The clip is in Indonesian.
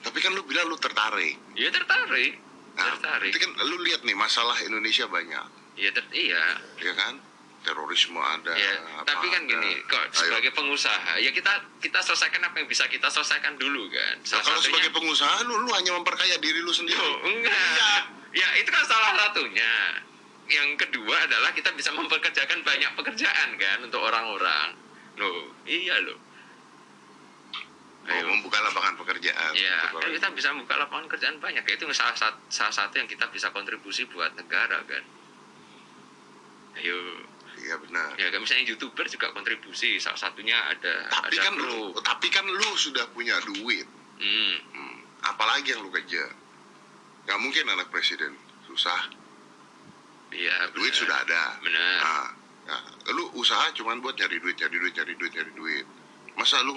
tapi kan lu bilang lu tertarik ya tertarik nah, tertarik itu kan lu lihat nih masalah Indonesia banyak ya ter iya ya kan terorisme ada ya apa tapi kan ada. gini kok Ayo. Nah, sebagai pengusaha ya kita kita selesaikan apa yang bisa kita selesaikan dulu kan Nah, Salah kalau satunya- sebagai pengusaha lu lu hanya memperkaya diri lu sendiri Oh, iya. enggak. Ya itu kan salah satunya. Yang kedua adalah kita bisa mempekerjakan banyak pekerjaan kan untuk orang-orang. Loh, iya loh. Mau Oh, membuka lapangan pekerjaan Gitu, Ya, Untuk orang. kan kita bisa buka lapangan kerjaan banyak. Ya, Itu salah satu, salah satu yang kita bisa kontribusi buat negara kan. Ayo, iya benar ya kan misalnya youtuber juga kontribusi. Salah satunya ada tapi ada kan pro. lu tapi kan lu sudah punya duit Hmm, Hmm, apalagi yang lu kerja nggak mungkin anak presiden susah iya. duit benar. sudah Ah. ada Benar. nah, nah, lu usaha cuman buat nyari duit nyari duit nyari duit nyari duit masa lu